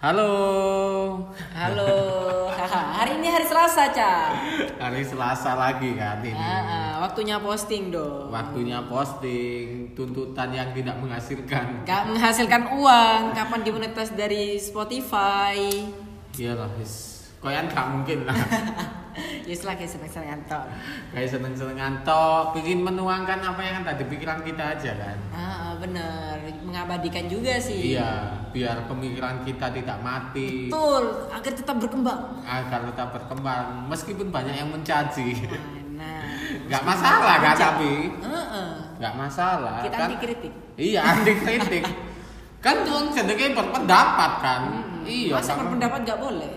Halo. Halo. Haha, hari ini hari Selasa, Ca. Hari Selasa lagi kan ini. Ah, ah, waktunya posting dong. Waktunya posting tuntutan yang tidak menghasilkan. Gak menghasilkan uang, kapan dimonetas dari Spotify? Iyalah, Iya wis. Koyan gak mungkin lah. Yes lah, guys, seneng seneng anton. Kayak seneng-seneng ngantok, bikin menuangkan apa yang ada di pikiran kita aja kan. Ah, ah, bener, mengabadikan juga sih. Iya, biar pemikiran kita tidak mati. Betul, agar tetap berkembang. Agar tetap berkembang, meskipun banyak yang mencaci. Nah, Gak masalah kan tapi? nah. Ah, ah. Gak masalah. kita kan? anti kritik. Iya, anti kritik. kan tuh jenenge berpendapat kan. Iya, Masa kan? berpendapat gak boleh?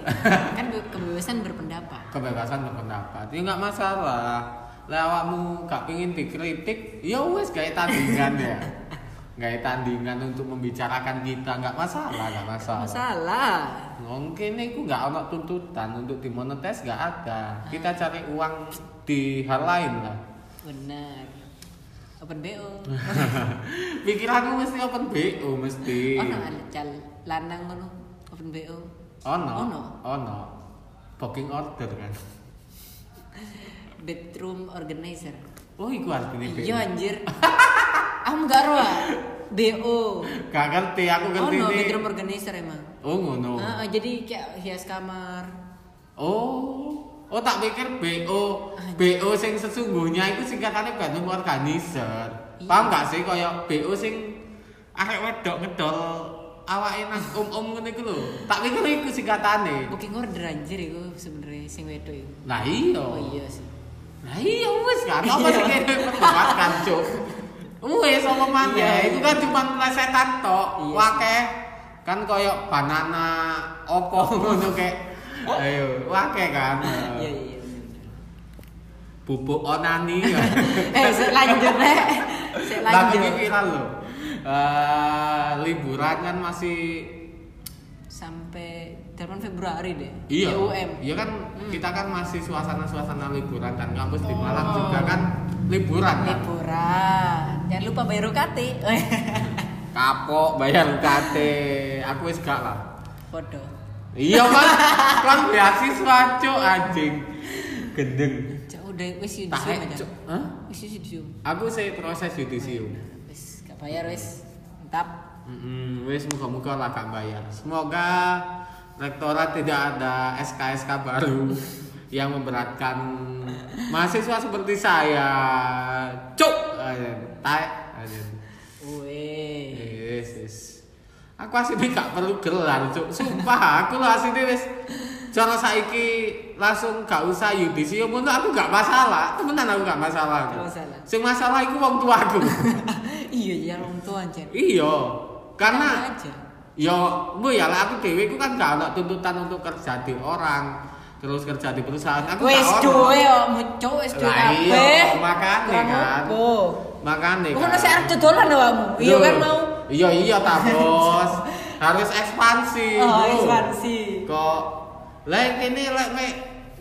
kan be- kebebasan berpendapat. kebebasan berpendapat. Ya nggak masalah. Lah awakmu gak pengin dikritik, ya wes kayak tandingan ya. Kayak tandingan untuk membicarakan kita nggak masalah, nggak masalah. Masalah. Mungkin itu nggak ono tuntutan untuk dimonetes nggak ada. Kita cari uang di hal lain lah. Bener. Open BO. Pikiranku mesti open BO mesti. ono ala cal lanang ngono open BO Ono. Ono. Ono. Booking order kan. bedroom organizer Oh, iku artinya BO. iya anjir aku gak roh ah. BO Gak ngerti, aku ngerti ono ini. bedroom organizer emang Oh, ngono. Ah, ah, jadi kayak hias kamar Oh, oh tak pikir BO, BO sing sesungguhnya itu singkatannya Bandung Organizer. Paham gak sih kaya BO sing arek wedok ngedol awake nang om-om ngene iku lho. Tak pikir iku singkatane. booking order anjir iku sebenarnya sing wedo iku Nah iya. oh iya sih Nah iya wis gak apa sih kene perdebatkan, Cuk. Wis apa maneh, itu kan cuma plesetan tok. Iya sih. Wakeh kan koyo banana opo ngono kek. Ayo, wakeh kan. Oh. iya iya iya. bubuk onani eh sik lanjut rek sik tapi lanjut pikiran Nah, lo Eh, liburan kan masih sampai 8 Februari deh iya UM iya kan kita kan masih suasana-suasana liburan dan kampus di Malang Oh. juga kan liburan kan liburan jangan lupa bayar UKT kapok bayar UKT aku wis gak lah Bodoh. iya kan kan beasiswa cuk anjing gendeng Cak udah wis tak yudisium aja. cuk Hah? Wis yudisium. aku saya proses yudisium Wis gak bayar wis. Mantap. Mm-mm, wis muka-muka lah Kak bayar. Semoga rektorat tidak ada SKSK baru yang memberatkan mahasiswa seperti saya. Cuk. Ayan, tae. Ayan. Weh. Yes, yes. Aku aslinya gak perlu gelar, Cuk. Sumpah, aku lah aslinya wis cara saiki langsung gak usah yudisium untuk aku gak masalah. Temenan aku gak masalah. Gak masalah. Sing masalah iku wong tuaku. iya ya orang tua anjir. iya. Karena Enak aja. Ya, bu ya lah aku dewe ku kan gak ada tuntutan untuk kerja di orang, terus kerja di perusahaan. Aku Wis gak ono. duwe yo mucu wis duwe Lah iya, kabeh. makane kan. Oh. Makane Kok kan. ono sik arep dodolan awakmu. Iya Loh, kan mau. Iya iya ta, Bos. Harus ekspansi. Oh, Bu. ekspansi. Kok lah kene lek mek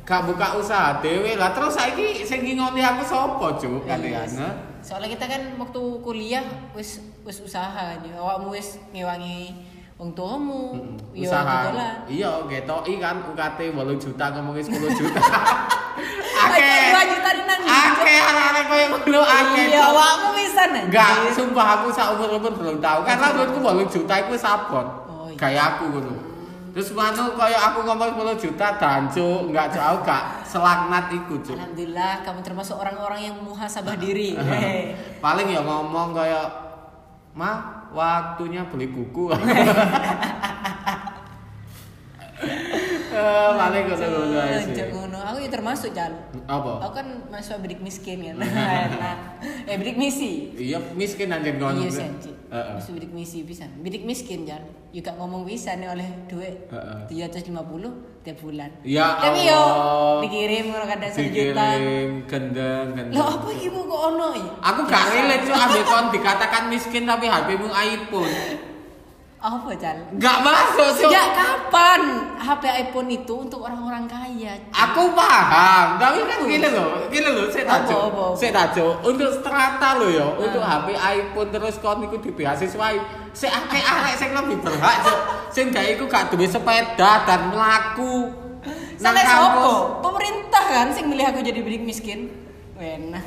gak buka usaha dewe lah terus saiki sing ngingoni aku sapa, Cuk? Kadeane. Soalnya kita kan waktu kuliah wis wis usaha kan. ya. Awakmu wis ngewangi wong tuamu. Mm-mm. Yo usaha dodolan. iya ngetoki kan UKT 8 juta ngomongin 10 juta ake Pacar dua juta dinang. ake anak-anak kaya ngono ake Iya, awakmu bisa anjir. enggak sumpah aku seumur umur belum tahu karena menurutku 8 juta itu sabot Oh, iya. kayak aku gitu terus manu kaya aku ngomong 10 juta dancu enggak jauh gak selaknat iku cuk Alhamdulillah kamu termasuk orang-orang yang muhasabah diri. Iya, Hei. paling ya ngomong kaya ma waktunya beli buku Eh, paling kok ngono ae sih. Cuk, ngono. Aku ya termasuk Jan. apa Aku kan mahasiswa bidik miskin kan. Enak. Eh bidik misi. iya miskin anjir ngono Iya sih anjir. Heeh. Mahasiswa bidik misi bisa. Bidik miskin Jan. Ya gak ngomong bisa nih oleh duit Heeh. 350 tiap bulan. Ya Tapi yo Allah. dikirim kalau kadang satu juta. dikirim gendeng gendeng Loh apa iki Bu, kok ono ya? aku gak relate cuk ambek kon dikatakan miskin tapi HP-mu iPhone Apa Jan? gak masuk cuk Sejak kapan HP iPhone itu untuk orang-orang kaya? Aku paham, tapi kan gini loh, gini loh, saya Apa, tajo, apa, Ah. apa? saya tajo. Untuk strata loh yo, untuk HP iPhone terus kon iku di beasiswa, sing akeh arek sing lebih berhak Cuk. sing gak iku gak duwe sepeda dan mlaku nang Salah kampus. sopo? Pemerintah kan sing milih aku jadi bidik miskin. nah. Wena.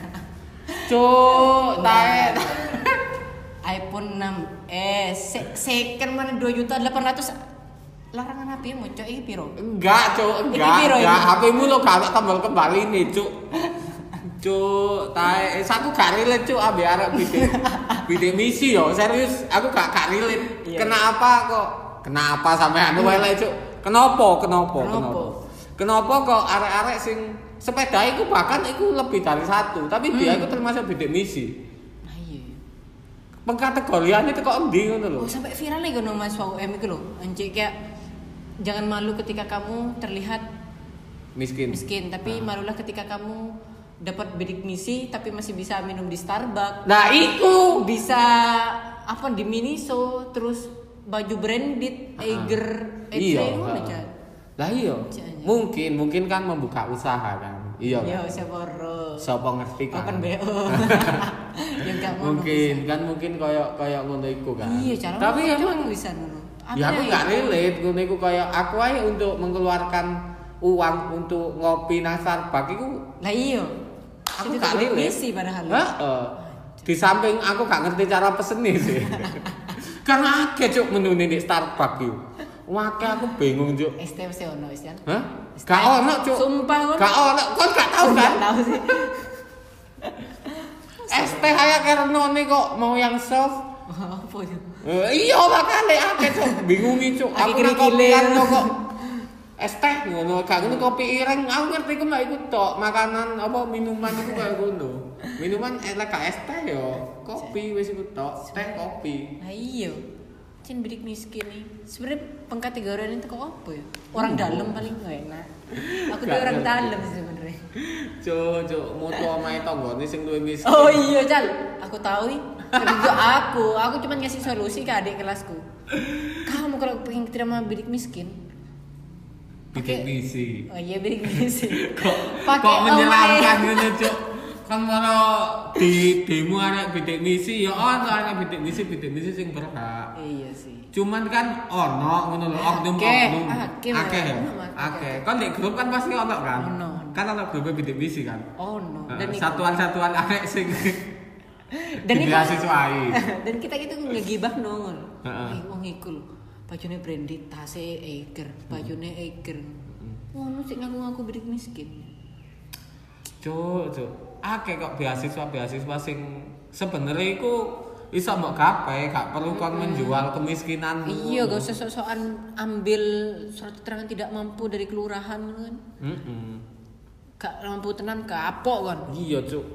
Cuk, tae. iPhone 6 eh se second mana 2 juta 800 larangan HP mu cok iki piro? Enggak, Cuk, Iki enggak. piro Enggak, iki? HP-mu lo gak ada tombol kembali nih, Cuk. Cuk, tae. Eh, Aku gak relate, Cuk, ambek arek bidik. Bidik misi yo, serius. Aku gak gak relate. Iya. Kenapa kok? Kenapa sampean anu wae, Cuk? Kenapa? Kenapa? Kenapa? Kenapa? Kenapa kok arek-arek sing sepeda iku bahkan iku lebih dari satu, tapi Hmm. dia iku termasuk bidik misi. Nah iya. Pengkategoriannya itu kok endi ngono lho. Oh sampai viral lagi no Mas Wau M iku lho. Anjir kayak jangan malu ketika kamu terlihat Miskin. miskin, tapi malulah ketika kamu dapat bidik misi tapi masih bisa minum di Starbucks. Nah, iku bisa apa di Miniso terus baju branded Eiger Ah. iya Eiger ngono, heeh. Cak. lah iya Cak, iya. mungkin mungkin kan membuka usaha kan iya Ya kan? siapa ro. Sopo ngerti kan Open BO. ya enggak ngono. mungkin kan mungkin koyok koyok ngono iku kan Iya, cara tapi ngomong emang cuma bisa ngono. ya aku nggak relate ngono iku koyok aku aja untuk mengeluarkan uang untuk ngopi nang Starbucks iku Lah iya. aku Itu nggak bidik relate misi padahal. Heeh. di samping aku gak ngerti cara pesennya sih karena akeh cuk menu di Starbucks iku Wake aku bingung cuk STMC Eh, ono wis kan. Hah? Gak ono, Cuk. Sumpah ono. Gak ono, kon gak tau kan? Tahu sih. ST kaya kerno nih kok mau yang soft. Oh, Apa itu? Eh, iya makane akeh Cuk, bingungi Cuk. Aki Aku nang kopi kerikilin. kan kok es teh ngono, gak ngono kopi ireng. Aku ngerti ku mek iku tok makanan apa minuman iku kaya ngono. Minuman elek gak es teh yo, kopi wis iku tok, teh kopi. Lah iya. Cin bidik miskin nih. Sebenarnya pengkategorian itu kok apa ya? Orang dalam paling gak enak. Aku Oh. tuh Gak orang ngerti. dalam sih sebenarnya. Cuk, Cuk, mutu omahe tanggane sing luwih miskin. Oh iya Cal, aku tahu ih. Kerja aku, aku cuma ngasih solusi ke adik kelasku. Kamu kalau pengen terima bidik miskin, Bidik Oke. misi. oh iya bidik miskin. kok Pakai kok menyelamkan away. gitu cuk kan kalau di demo anak bidik misi ya ono anak bidik misi bidik misi sing berhak Iya sih. cuman kan ono ngono lho oknum Akeh, oknum akeh akeh, ya? akeh, akeh akeh. kan di grup kan pasti ono kan Ono. kan ono grup bidik misi kan Oh no. Eh, Dan itu- satuan-satuan anak sing dan di itu- beasiswai dan kita itu ngegibah nongol. Heeh. Eh wong iku lho. Bajune branded, tasnya Eiger, bajune Eiger. Wah, nu sik ngaku-ngaku bidik miskin. cuk cuk akeh kok beasiswa beasiswa sing sebenarnya iku iso mbok gapai gak perlu kon menjual kemiskinan Iya, gak usah sok-sokan ambil surat keterangan tidak mampu dari kelurahan gitu kan. Mm-mm. Gak mampu tenan kapok kan. Iya, Cuk.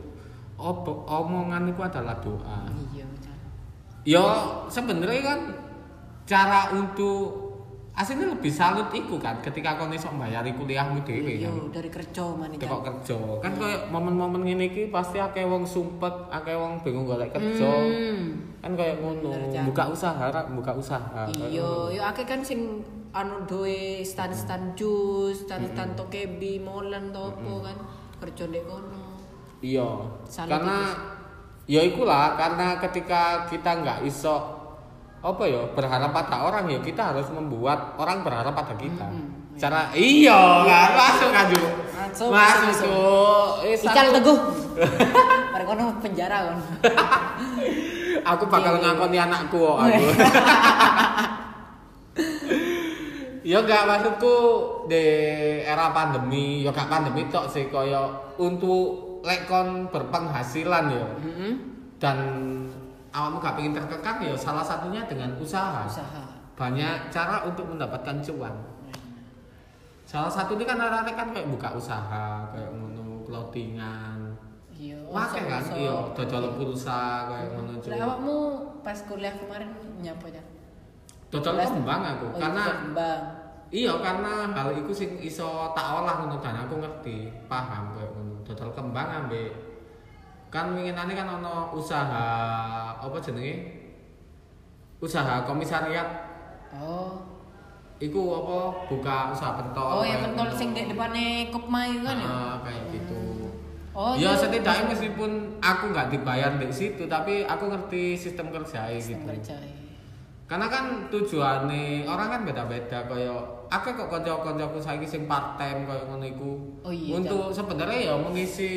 Opo- omongan itu adalah doa. Iya, Cak. Ya sebenarnya kan cara untuk aslinya lebih salut iku kan ketika kau iso mbayari kuliahmu dhewe Iya, kan. dari kerja Hmm. mana Tekok Cak. kerja. Kan koyo momen-momen ngene iki pasti akeh wong sumpet, akeh wong bingung golek kerja. Hmm. Kan koyo ngono, Bener, Cak. buka usaha, Rak, buka usaha. Kayak Iya, ngono. yo akeh kan sing anu doe stan-stan jus, stan-stan tokebi, molen to opo kan. Kerja ndek kono. Iya. Salut karena ya ikulah karena ketika kita nggak iso apa ya berharap pada orang ya kita harus membuat orang berharap pada kita. Cara iya kan masuk kan Ju. Masuk, Masuk. masuk. Ju. Eh, Ical satu- teguh. Mari kono penjara kan. Aku bakal Iya, iya. ngakoni anakku kok aku. Ya enggak maksudku di era pandemi, ya gak pandemi tok sih kaya untuk lekon berpenghasilan ya. Heeh. dan awakmu gak pengen terkekang ya salah satunya dengan usaha Usaha. banyak cara untuk mendapatkan cuan salah satunya kan arek-arek kan kayak buka usaha kayak ngono clothingan Iya. wakai kan sok-sok. iya dodol pulsa kayak ngono Lah cuy awakmu pas kuliah kemarin nyapa ya? dodol kembang aku Oh, karena itu kembang. iya karena hal itu sing iso tak olah ngono dan aku ngerti paham kayak ngono dodol kembang ambek kan winginane kan ono usaha apa jenenge usaha komisariat Oh. iku apa buka usaha pentol Oh, yang kayak pentol ngono. sing di depannya Kopma itu kan ya? iya. Ah, kayak gitu Oh, ya itu setidaknya meskipun aku nggak dibayar di situ tapi aku ngerti sistem kerja sistem gitu kerja. Karena kan tujuane orang kan beda-beda koyo akeh kok kanca-kancaku saiki sing part time koyo ngono iku. Oh iya, Untuk sebenarnya ya mengisi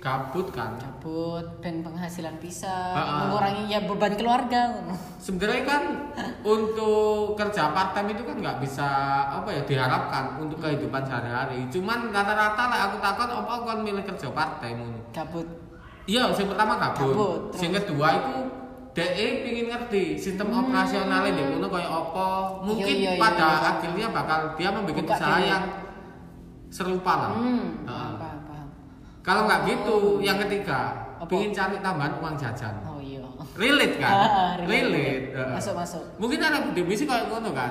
gabut kan. cabut dan penghasilan bisa Ah, ah. mengurangi ya beban keluarga Sebenarnya kan untuk kerja part time itu kan nggak bisa apa ya diharapkan untuk kehidupan sehari-hari. Cuman rata-rata lah aku takon apa aku kan milih kerja part time ngono. cabut Iya, sing pertama kabut. Kabut, terus? Hmm. Sing kedua iku dhek pingin ngerti sistem operasionalnya di kono kaya apa. Mungkin Iya, iya, pada iya. akhirnya bakal dia membuat Buka usaha ini. yang serupa lah. hmm Heeh. apa apa Kalau nggak gitu, yang ketiga Apa? pingin cari tambahan uang jajan. oh iya Relate kan? Ah, relate. relate, relate. heeh. Masuk, masuk. Mungkin anak pandemi sih kayak ngono kan.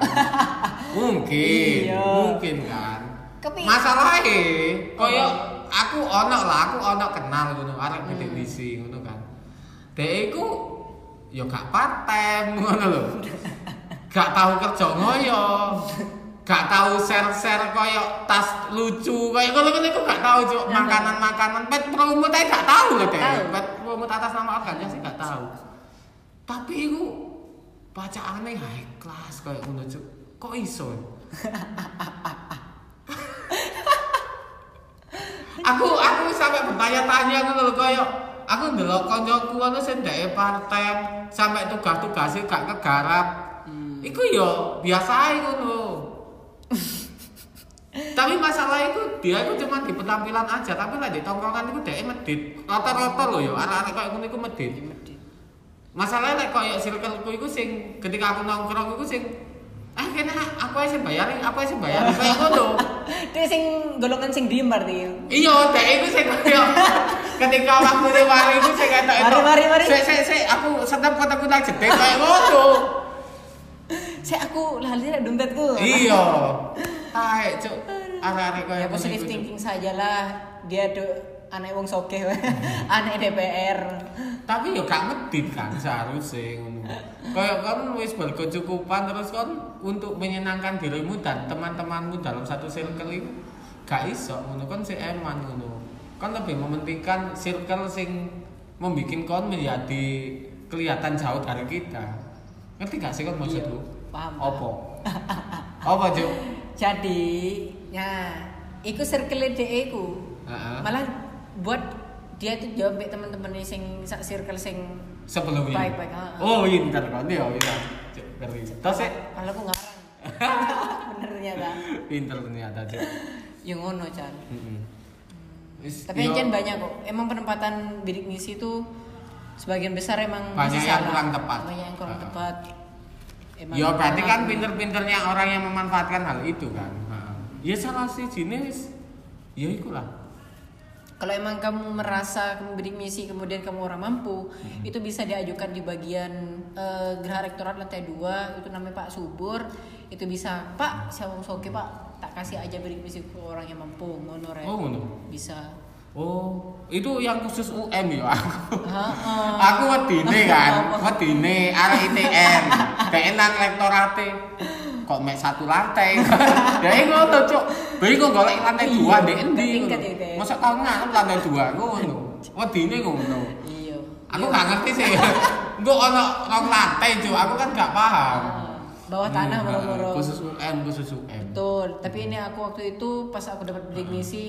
mungkin, Iya. mungkin kan. Kepi- masalahnya koyo aku ono lah aku ono kenal ngono arek gede misi ngono kan dhek iku ya gak paten ngono lho gak tahu kerja ngoyo gak tahu share-share koyo tas lucu koyo ngono ngono iku gak tahu cuk makanan-makanan pet promo teh gak tahu lho dhek Tahu. pet promo atas nama organnya sih gak tahu tapi iku bacaane high class koyo ngono cuk kok iso ya? aku aku sampai bertanya-tanya aku lho koyo aku ndelok kancaku ngono sing ndek partai sampai tugas-tugasnya gak kegarap. Iku yo biasa ae ngono. tapi masalah itu dia itu cuma di penampilan aja tapi lah di tongkrongan itu dia medit rata-rata loh ya anak-anak kayak ngono itu medit masalahnya lek koyo circleku iku sing ketika aku nongkrong iku sing ah kena aku ae sing bayarin aku ae sing bayarin kayak ngono dia sing golongan sing diem berarti Iya, dek iku sing kaya ketika waktu ne mari iku sing ketok Mari, mari, mari. Sik sik sik aku senep kotak nang jedek kaya ngono. saya aku lali rek dompetku Iya. Taek, Cuk. Arek-arek kaya ya ngono iku, positive Cuk. thinking sajalah dia do anak wong sokeh anak DPR Tapi yo gak medit kan seharusnya ngono. Kaya kon wis berkecukupan terus kon untuk menyenangkan dirimu dan teman-temanmu dalam satu circle itu gak iso ngono kon sik eman ngono. Kon lebih mementingkan circle sing membikin kon menjadi kelihatan jauh dari kita. Ngerti gak sih kon maksudku? Iya, paham, paham. Opo? Opo, Juk? jadi ya iku circle DE ku Heeh. malah buat dia tuh jawab mbek temen-temen e sing sak circle sing Sebelumnya. Baik, baik, ha, ha. Oh, pinter kon ya, pinter. Cuk, ngerti. Terus sik malah aku ngarang benernya kan pinter ternyata, Cuk. yang Ya, ngono Chan Mm-mm. Wis, Hmm. tapi yo, Chan banyak kok emang penempatan bidik misi itu sebagian besar emang Banyak masih yang salah. kurang tepat. banyak yang Ha, kurang ha. tepat Emang yo berarti kan kurang- pinter-pinternya orang yang memanfaatkan hal itu kan. Heeh. Hmm. Ya salah sih jenis. Ya ikulah. Kalau emang kamu merasa kamu bidik misi kemudian kamu orang mampu, itu bisa diajukan di bagian eh, Geraha Rektorat lantai 2, itu namanya Pak Subur. Itu bisa, Pak, saya mau soke, Pak, tak kasih aja bidik misi ke orang yang mampu, ngono Rek." Oh ngono. Bisa. Oh, itu yang khusus UM ya Oh. aku. Heeh. Aku wedine kan, Oh. wedine arek ITN. TN nang rektorate. Kok mek satu lantai. Ya iku ngono, Cuk. Beri kok golek lantai Iya, 2 ndek endi. tingkat itu ya. Mosok tau ngarep lantai 2 ngono. Wedine ngono. Iya. Aku gak ngerti sih. Engko ono rong lantai, Cuk. Aku kan gak paham. Heeh. Bawah tanah Iya, moro-moro. Khusus UM, khusus UM. Betul, tapi ini aku waktu itu pas aku dapat bidik misi,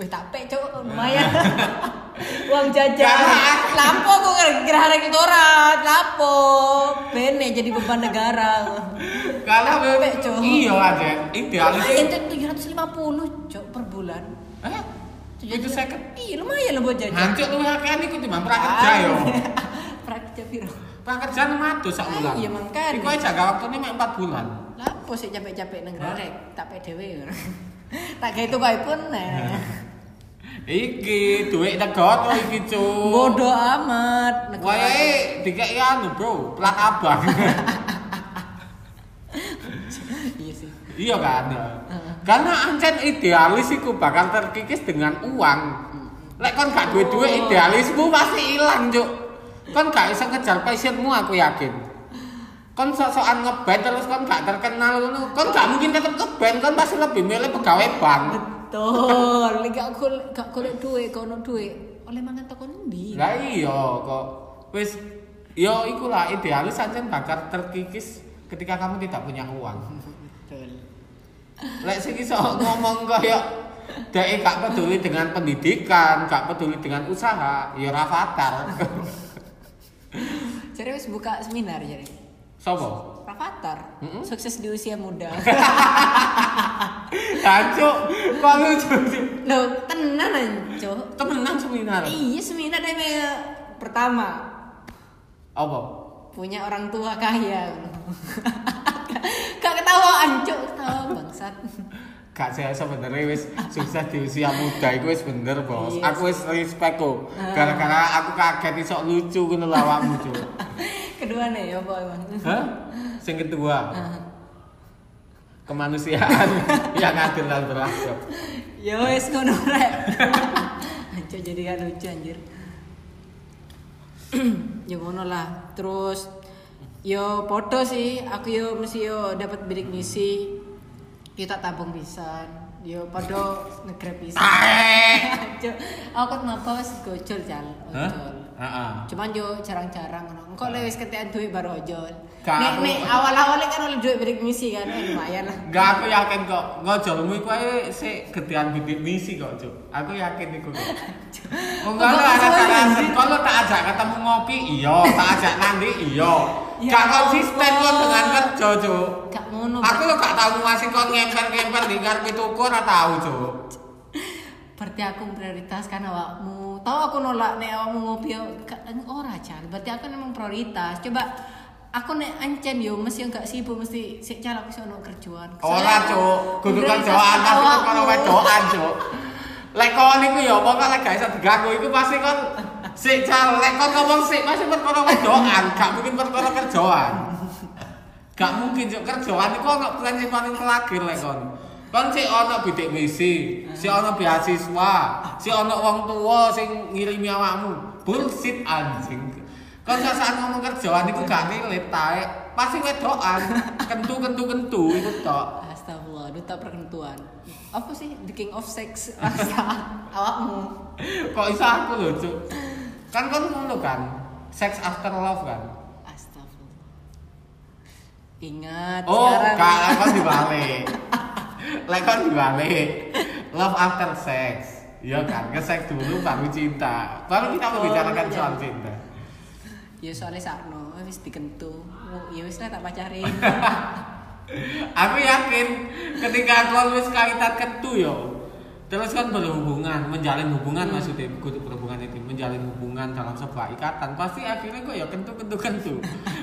wih tak pek Ya. cok, lumayan. Uang jajan. Karena- Lapo aku ger- gerah rektorat, lapo. Bene jadi beban negara. Kalau Capek, Cuk. Iya aja. Idealis. Lumayan tuh 750 cok per bulan. Eh, itu second. Iya lumayan lah buat jajan. Hancur lu hakian iku Ah. timbang prakerja yo. Prakerja piro? Prakerja 600 sak bulan. Iya, makanya. Iku aja gak waktune mek 4 bulan. Lapo sih capek-capek nang gerah Hah? rek, tak pek dhewe. Tak kayak itu kayak pun. Iki duit negara iki cuk. Bodoh amat. negara. Oh. Wae dikek anu bro, plat abang. Iya sih. iya kan. Karena ancen idealis iku bakal terkikis dengan uang. Lek kon gak duwe-duwe idealismu pasti ilang cuk. Kon gak bisa ngejar passionmu aku yakin. Kon sok-sokan ngeband terus kon gak terkenal ngono. Kon gak mungkin tetep ngeband, kon pasti lebih milih pegawai bank. Betul, lek gak golek gak golek duit, kono duit. Oleh mangan teko endi? Lah iya kok wis Yo, ikulah idealis saja bakal terkikis ketika kamu tidak punya uang. Betul. Lek sing iso ngomong koyo dek gak peduli dengan pendidikan, gak peduli dengan usaha, ya ora fatal. Jadi wis buka seminar jadi. Sopo? Rafathar, Mm-mm. sukses di usia muda. Kancuk, kok lucu sih? Loh, tenan anjo. Temenan seminar. Iya, seminar dari me- pertama Apa? punya orang tua kaya. Kak ketawa anjo, ketawa bangsat. Gak saya sebenarnya wis sukses di usia muda iku wis bener, Bos. Yes. Aku wis respect kok. Gara-gara aku kaget iso lucu ngono lho awakmu, Cuk. Kedua nih ya, boy emang. Hah? Sing kedua. Kemanusiaan Ya, yang adil dan beradab. Ya wes ngono rek. Anco jadi gak lucu anjir. ya ngono lah. Terus yo foto sih, aku yo mesti yo dapat bidik misi. Kita tabung pisan. Yo podo ngegrab pisan. Taek. Anco, aku kenapa wes gojol jal. Hah? ojol. Heeh. Cuman yo jarang-jarang ngono. Engko lewis ketekan duit baru ojol. Gak Nek aku- nek awal-awal kan oleh duit bidik misi kan eh, lumayan lah. Enggak, aku yakin kok. Ngojolmu iku ae sik gedean gede misi kok, Cuk. Aku yakin iku. kok. Enggak ada Kok gak sesuai alasan. sih? Kalau tak ajak ketemu ngopi, iya. Tak ajak nanti, iya. Ya Gak konsisten ampun. kok dengan kerja, Cuk. Gak ngono. Aku lo gak tau masih kok ngemper-ngemper di karpet toko ora tau, Cuk. berarti aku memprioritaskan awakmu tahu aku nolak nek awakmu ngopi yo gak- ora cal berarti aku memang prioritas coba aku nek ancen yo mesti enggak sibuk mesti sik cal aku sono kerjaan Oh, Ora, Cuk. Kudu kan jawaban tapi kok karo wedokan wedokan, Cuk. Lek kon iku ya apa lek gak iso diganggu iku pasti kon sik cal lek kon ngomong sik pasti perkara wedokan, gak mungkin perkara kerjaan. Gak mungkin Cuk kerjaan iku ono plan sing paling terakhir lek kon. Kon sik ono bidik misi, sik ono beasiswa, sik ono wong tua sing ngirimi awakmu. Bullshit anjing. Kon gak saat ngomong kerjaan iku gak relate tae. Pasti wedokan, kentu-kentu-kentu iku tok. astagfirullah duta perkentuan apa sih the king of sex rasa awakmu Kok iso aku lho, Cuk? Kan kan ngono kan. Sex after love kan. astagfirullah ingat Oh, sekarang gak lek kon dibalik. Lek kon dibalik. Love after sex. Iya kan, ke seks dulu baru cinta. Baru kita membicarakan Oh, iya. soal cinta. ya soalnya sakno wis dikentu ya wis lah tak pacarin Aku yakin ketika kon wis kawitan ketu yo. Terus kan berhubungan, menjalin Hmm. hubungan maksudnya kudu berhubungan itu menjalin hubungan dalam sebuah ikatan pasti akhirnya kok ya kentu kentu kentu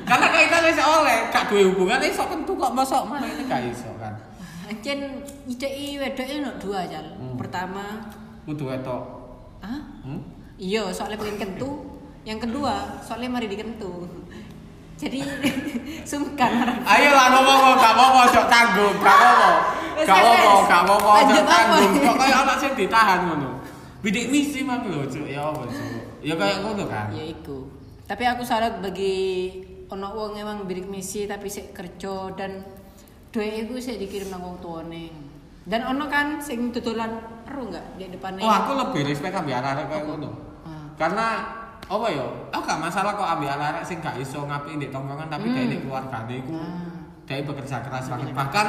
karena kaitan wis oleh gak duwe hubungan iso kentu kok mosok malah ini gak iso kan Ancen ide wedoknya no dua jal. Hmm. Pertama, kudu wetok ah, hmm? iya soalnya pengen kentu. Yang kedua, soalnya mari dikentu. Jadi sungkan harap. ayo lah ngomong ngomong gak mau sok tanggung gak mau Wes, gak wes, mau wes. gak mau Lanjut sok apa? tanggung kok kayak anak sing ditahan ngono bidik misi mang lho cuk ya apa cuk ya kayak ngono kan Ya iku. Tapi aku salut bagi ono wong emang bidik misi tapi sik kerja dan duit iku sik dikirim nang wong tuane. Dan ono kan sing tutulan ero enggak di depannya. Oh aku lebih respect ambil arek kayak ngono. Ah. Karena apa ya? Aku gak masalah kok ambil arek sing gak iso ngapain di tongkongan tapi Hmm. dia ini keluargane iku. Ah. Dia bekerja keras banget. Bahkan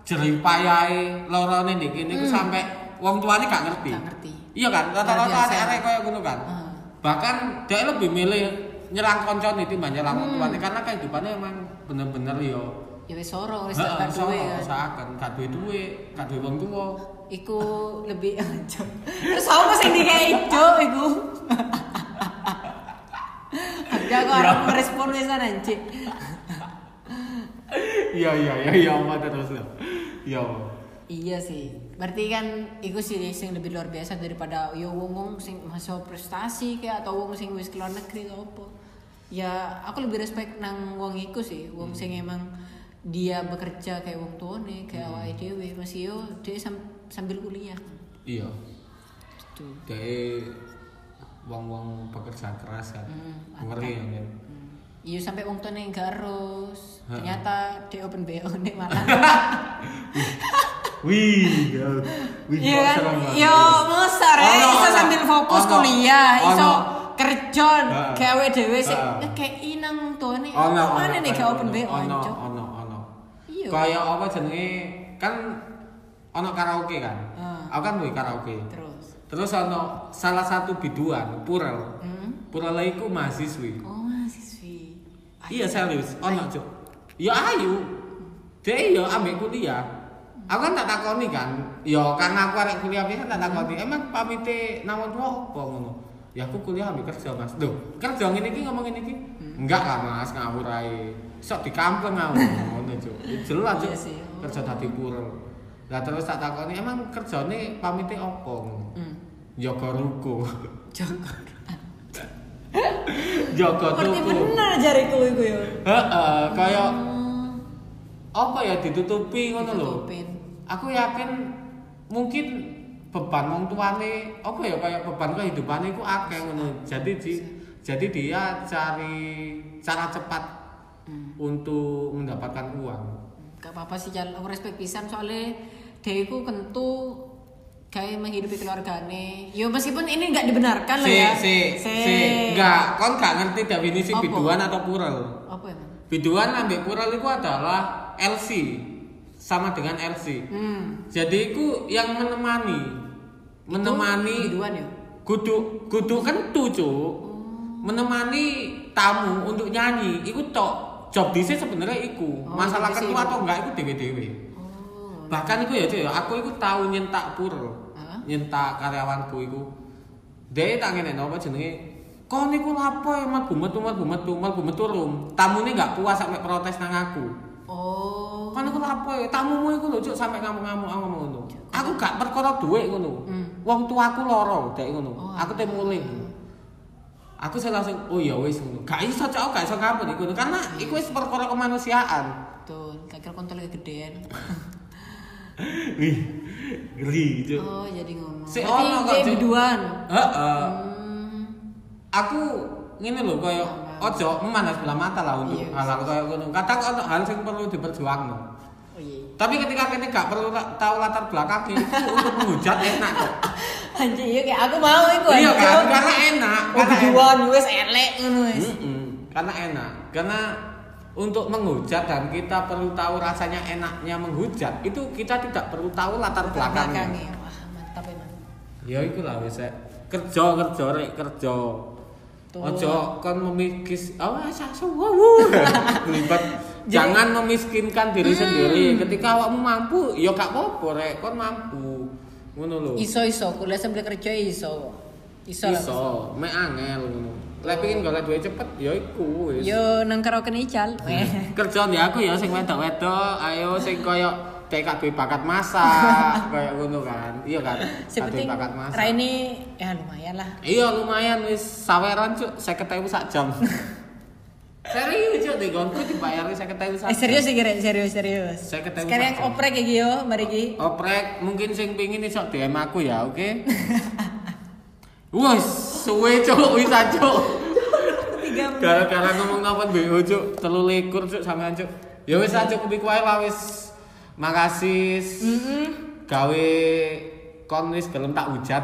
jerih payahe lorone nek kene iku sampai wong tuane gak ngerti. Hmm. Gak ngerti. Iya kan? Rata-rata Luar biasa. arek-arek kayak ngono kan. Ah. Bahkan dia lebih milih nyerang koncon itu nyerang wong Hmm. tuane karena kehidupannya emang bener-bener yo. Ya wis soro Oh, wis Heeh, gak duwe usaha- kan. usahakan, gak duwe duwe, gak duwe wong tuwa. Iku lebih cok. Terus apa sing dikei cok iku? Ada kok Ya. orang merespon wisan anjir. Iya iya iya iya apa terus lo? Iya. apa? Iya sih. Berarti kan iku sih sing lebih luar biasa daripada yo wong wong sing masuk prestasi kayak atau wong sing wis keluar negeri atau apa. Ya aku lebih respect nang wong iku sih, wong sing emang dia bekerja kayak wong tuane, kayak awake dhewe masih yo dia sam- sambil kuliah. Iya. Gitu. Dari wong-wong pekerja keras kan. Hmm, Ngeri ya kan. Iya sampai wong tuane enggak harus. Heeh. Ternyata dia open BO nih malah. Wih, ya. wih, kok Iya kan? serem banget. Yo, besar ya. Ono, Iso ono. sambil fokus Ono. kuliah, iso Ono. kerjon Heeh. gawe dhewe sik Heeh. ngekeki nang tuane. ono Mana nih gak open BO ono anjuk. ono ono Iya. kaya apa jenenge kan ono karaoke kan Ah. aku kan duwe karaoke Terus. terus ono salah satu biduan purel Hmm? purel iku mahasiswi Oh, mahasiswi. iya serius ono cuk ya ayu deh ya ambek kuliah aku kan tak takoni kan ya karena aku arek kuliah biasa tak takoni Hmm. emang pamite namun tua apa ngono ya aku kuliah ambil kerja mas Duh, kerja ngene iki ngomong ngene iki Hmm. enggak lah mas ngawur ae sok di kampung aku ngono cuk Ya jelas cuk Iya sih. kerja dadi purel lah terus tak takoni emang kerjane pamite apa ngono Hmm. jaga ruko Jago. jaga Ngerti tuku bener jariku iku yo. heeh kaya Hmm, apa ya ditutupi ngono lho ditutupin. aku yakin mungkin beban wong tuane apa ya kayak beban kehidupane iku akeh ngono. Jadi Iya. di- jadi dia cari cara cepat Hmm. untuk mendapatkan uang. Gak apa-apa sih Jal, aku respect pisan soalnya dia ku kentu kayak menghidupi keluargane. Yo meskipun ini nggak dibenarkan lah si, ya. si, Si. si, enggak, kon gak ngerti definisi Apa? biduan atau purel. Apa ya? Bang? Biduan ambek purel itu adalah LC sama dengan LC. Hmm. Jadi itu yang menemani menemani biduan ya. kudu kudu kentu Oh. cuk menemani tamu untuk nyanyi iku tok job dhisik sebenarnya iku Oh, masalah job dhisik ketua iku. atau enggak iku dewe-dewe Oh. bahkan iku ya cuk ya, aku iku tau nyentak pur Hah? nyentak karyawanku iku dhewe tak ngene apa jenenge kon iku lapo ya mlebu metu mlebu metu mlebu metu rum tamune enggak puas sampe protes nang aku Oh. kan aku lapo ya tamumu iku lho cuk sampe ngamuk-ngamuk aku ngono aku gak perkara dhuwit ngono Hmm. wong tuaku lara dek ngono Oh, aku teh mulih aku saya langsung oh ya wis ngono gak iso cuk aku gak iso ngapun iku ngono. karena iku wis perkara kemanusiaan Betul, gak kira kontol kegedean. wih ngeri cuk Oh, jadi ngomong. Si Berarti ono kok, dia Cuk. biduan. heeh Hmm. aku ngene lho kaya ojo memandang sebelah mata lah untuk Iya, hal-hal kaya ngono kadang ono hal sing perlu diperjuangno Oh iya. tapi ketika kita gak perlu la- tahu latar belakangnya itu untuk menghujat enak kok Anjir, iya kayak aku mau iku. iya anjir. kan karena enak Oh, karena enak. biduan wis elek ngono wis. Mm-mm, karena enak karena untuk menghujat dan kita perlu tahu rasanya enaknya menghujat itu kita tidak perlu tahu latar belakangnya Belakangnya. Wah, mantap emang. ya ikulah wis Rek. kerja kerja rek kerja Betul. ojo kon memikis oh sasa wow libat jangan memiskinkan diri sendiri ketika awakmu mampu ya gak apa-apa rek kon mampu ngono lho Iso iso, kuliah sambil kerja iso. Iso. lah. iso mek angel ngono lek pengin golek duit cepet ya iku wis Yo nang karaoke ical. kerja di aku ya sing wedok-wedok ayo sing koyo TKB bakat masak kayak ngono kan iya kan TKB Sepenting bakat masak Raini ya lumayan lah. iya lumayan wis saweran cuk 50.000 sak jam serius cuk di gonku dibayari 50.000 sak Eh serius sih kira serius serius. Saya ketemu Sekarang Pak. oprek ya Gio, mari Gi. jam. oprek mungkin sing pingin iso DM aku ya oke Wes, suwe cuk, wis cuk. Tiga menit. Gara-gara ngomong kapan BO cuk, telu likur cuk sampean cuk. Ya wis aja kupik wae lah wis. Makasih. Gawe kon wis gelem tak hujat.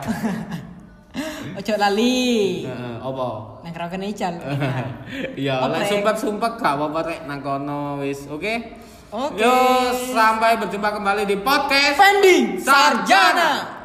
Ojo lali. Heeh, apa? Nang karaoke ical. Ya, lek Oprek. sumpek-sumpek gak apa-apa rek nang kono wis, oke? Oke. Yo, sampai berjumpa kembali di podcast Pending Sarjana.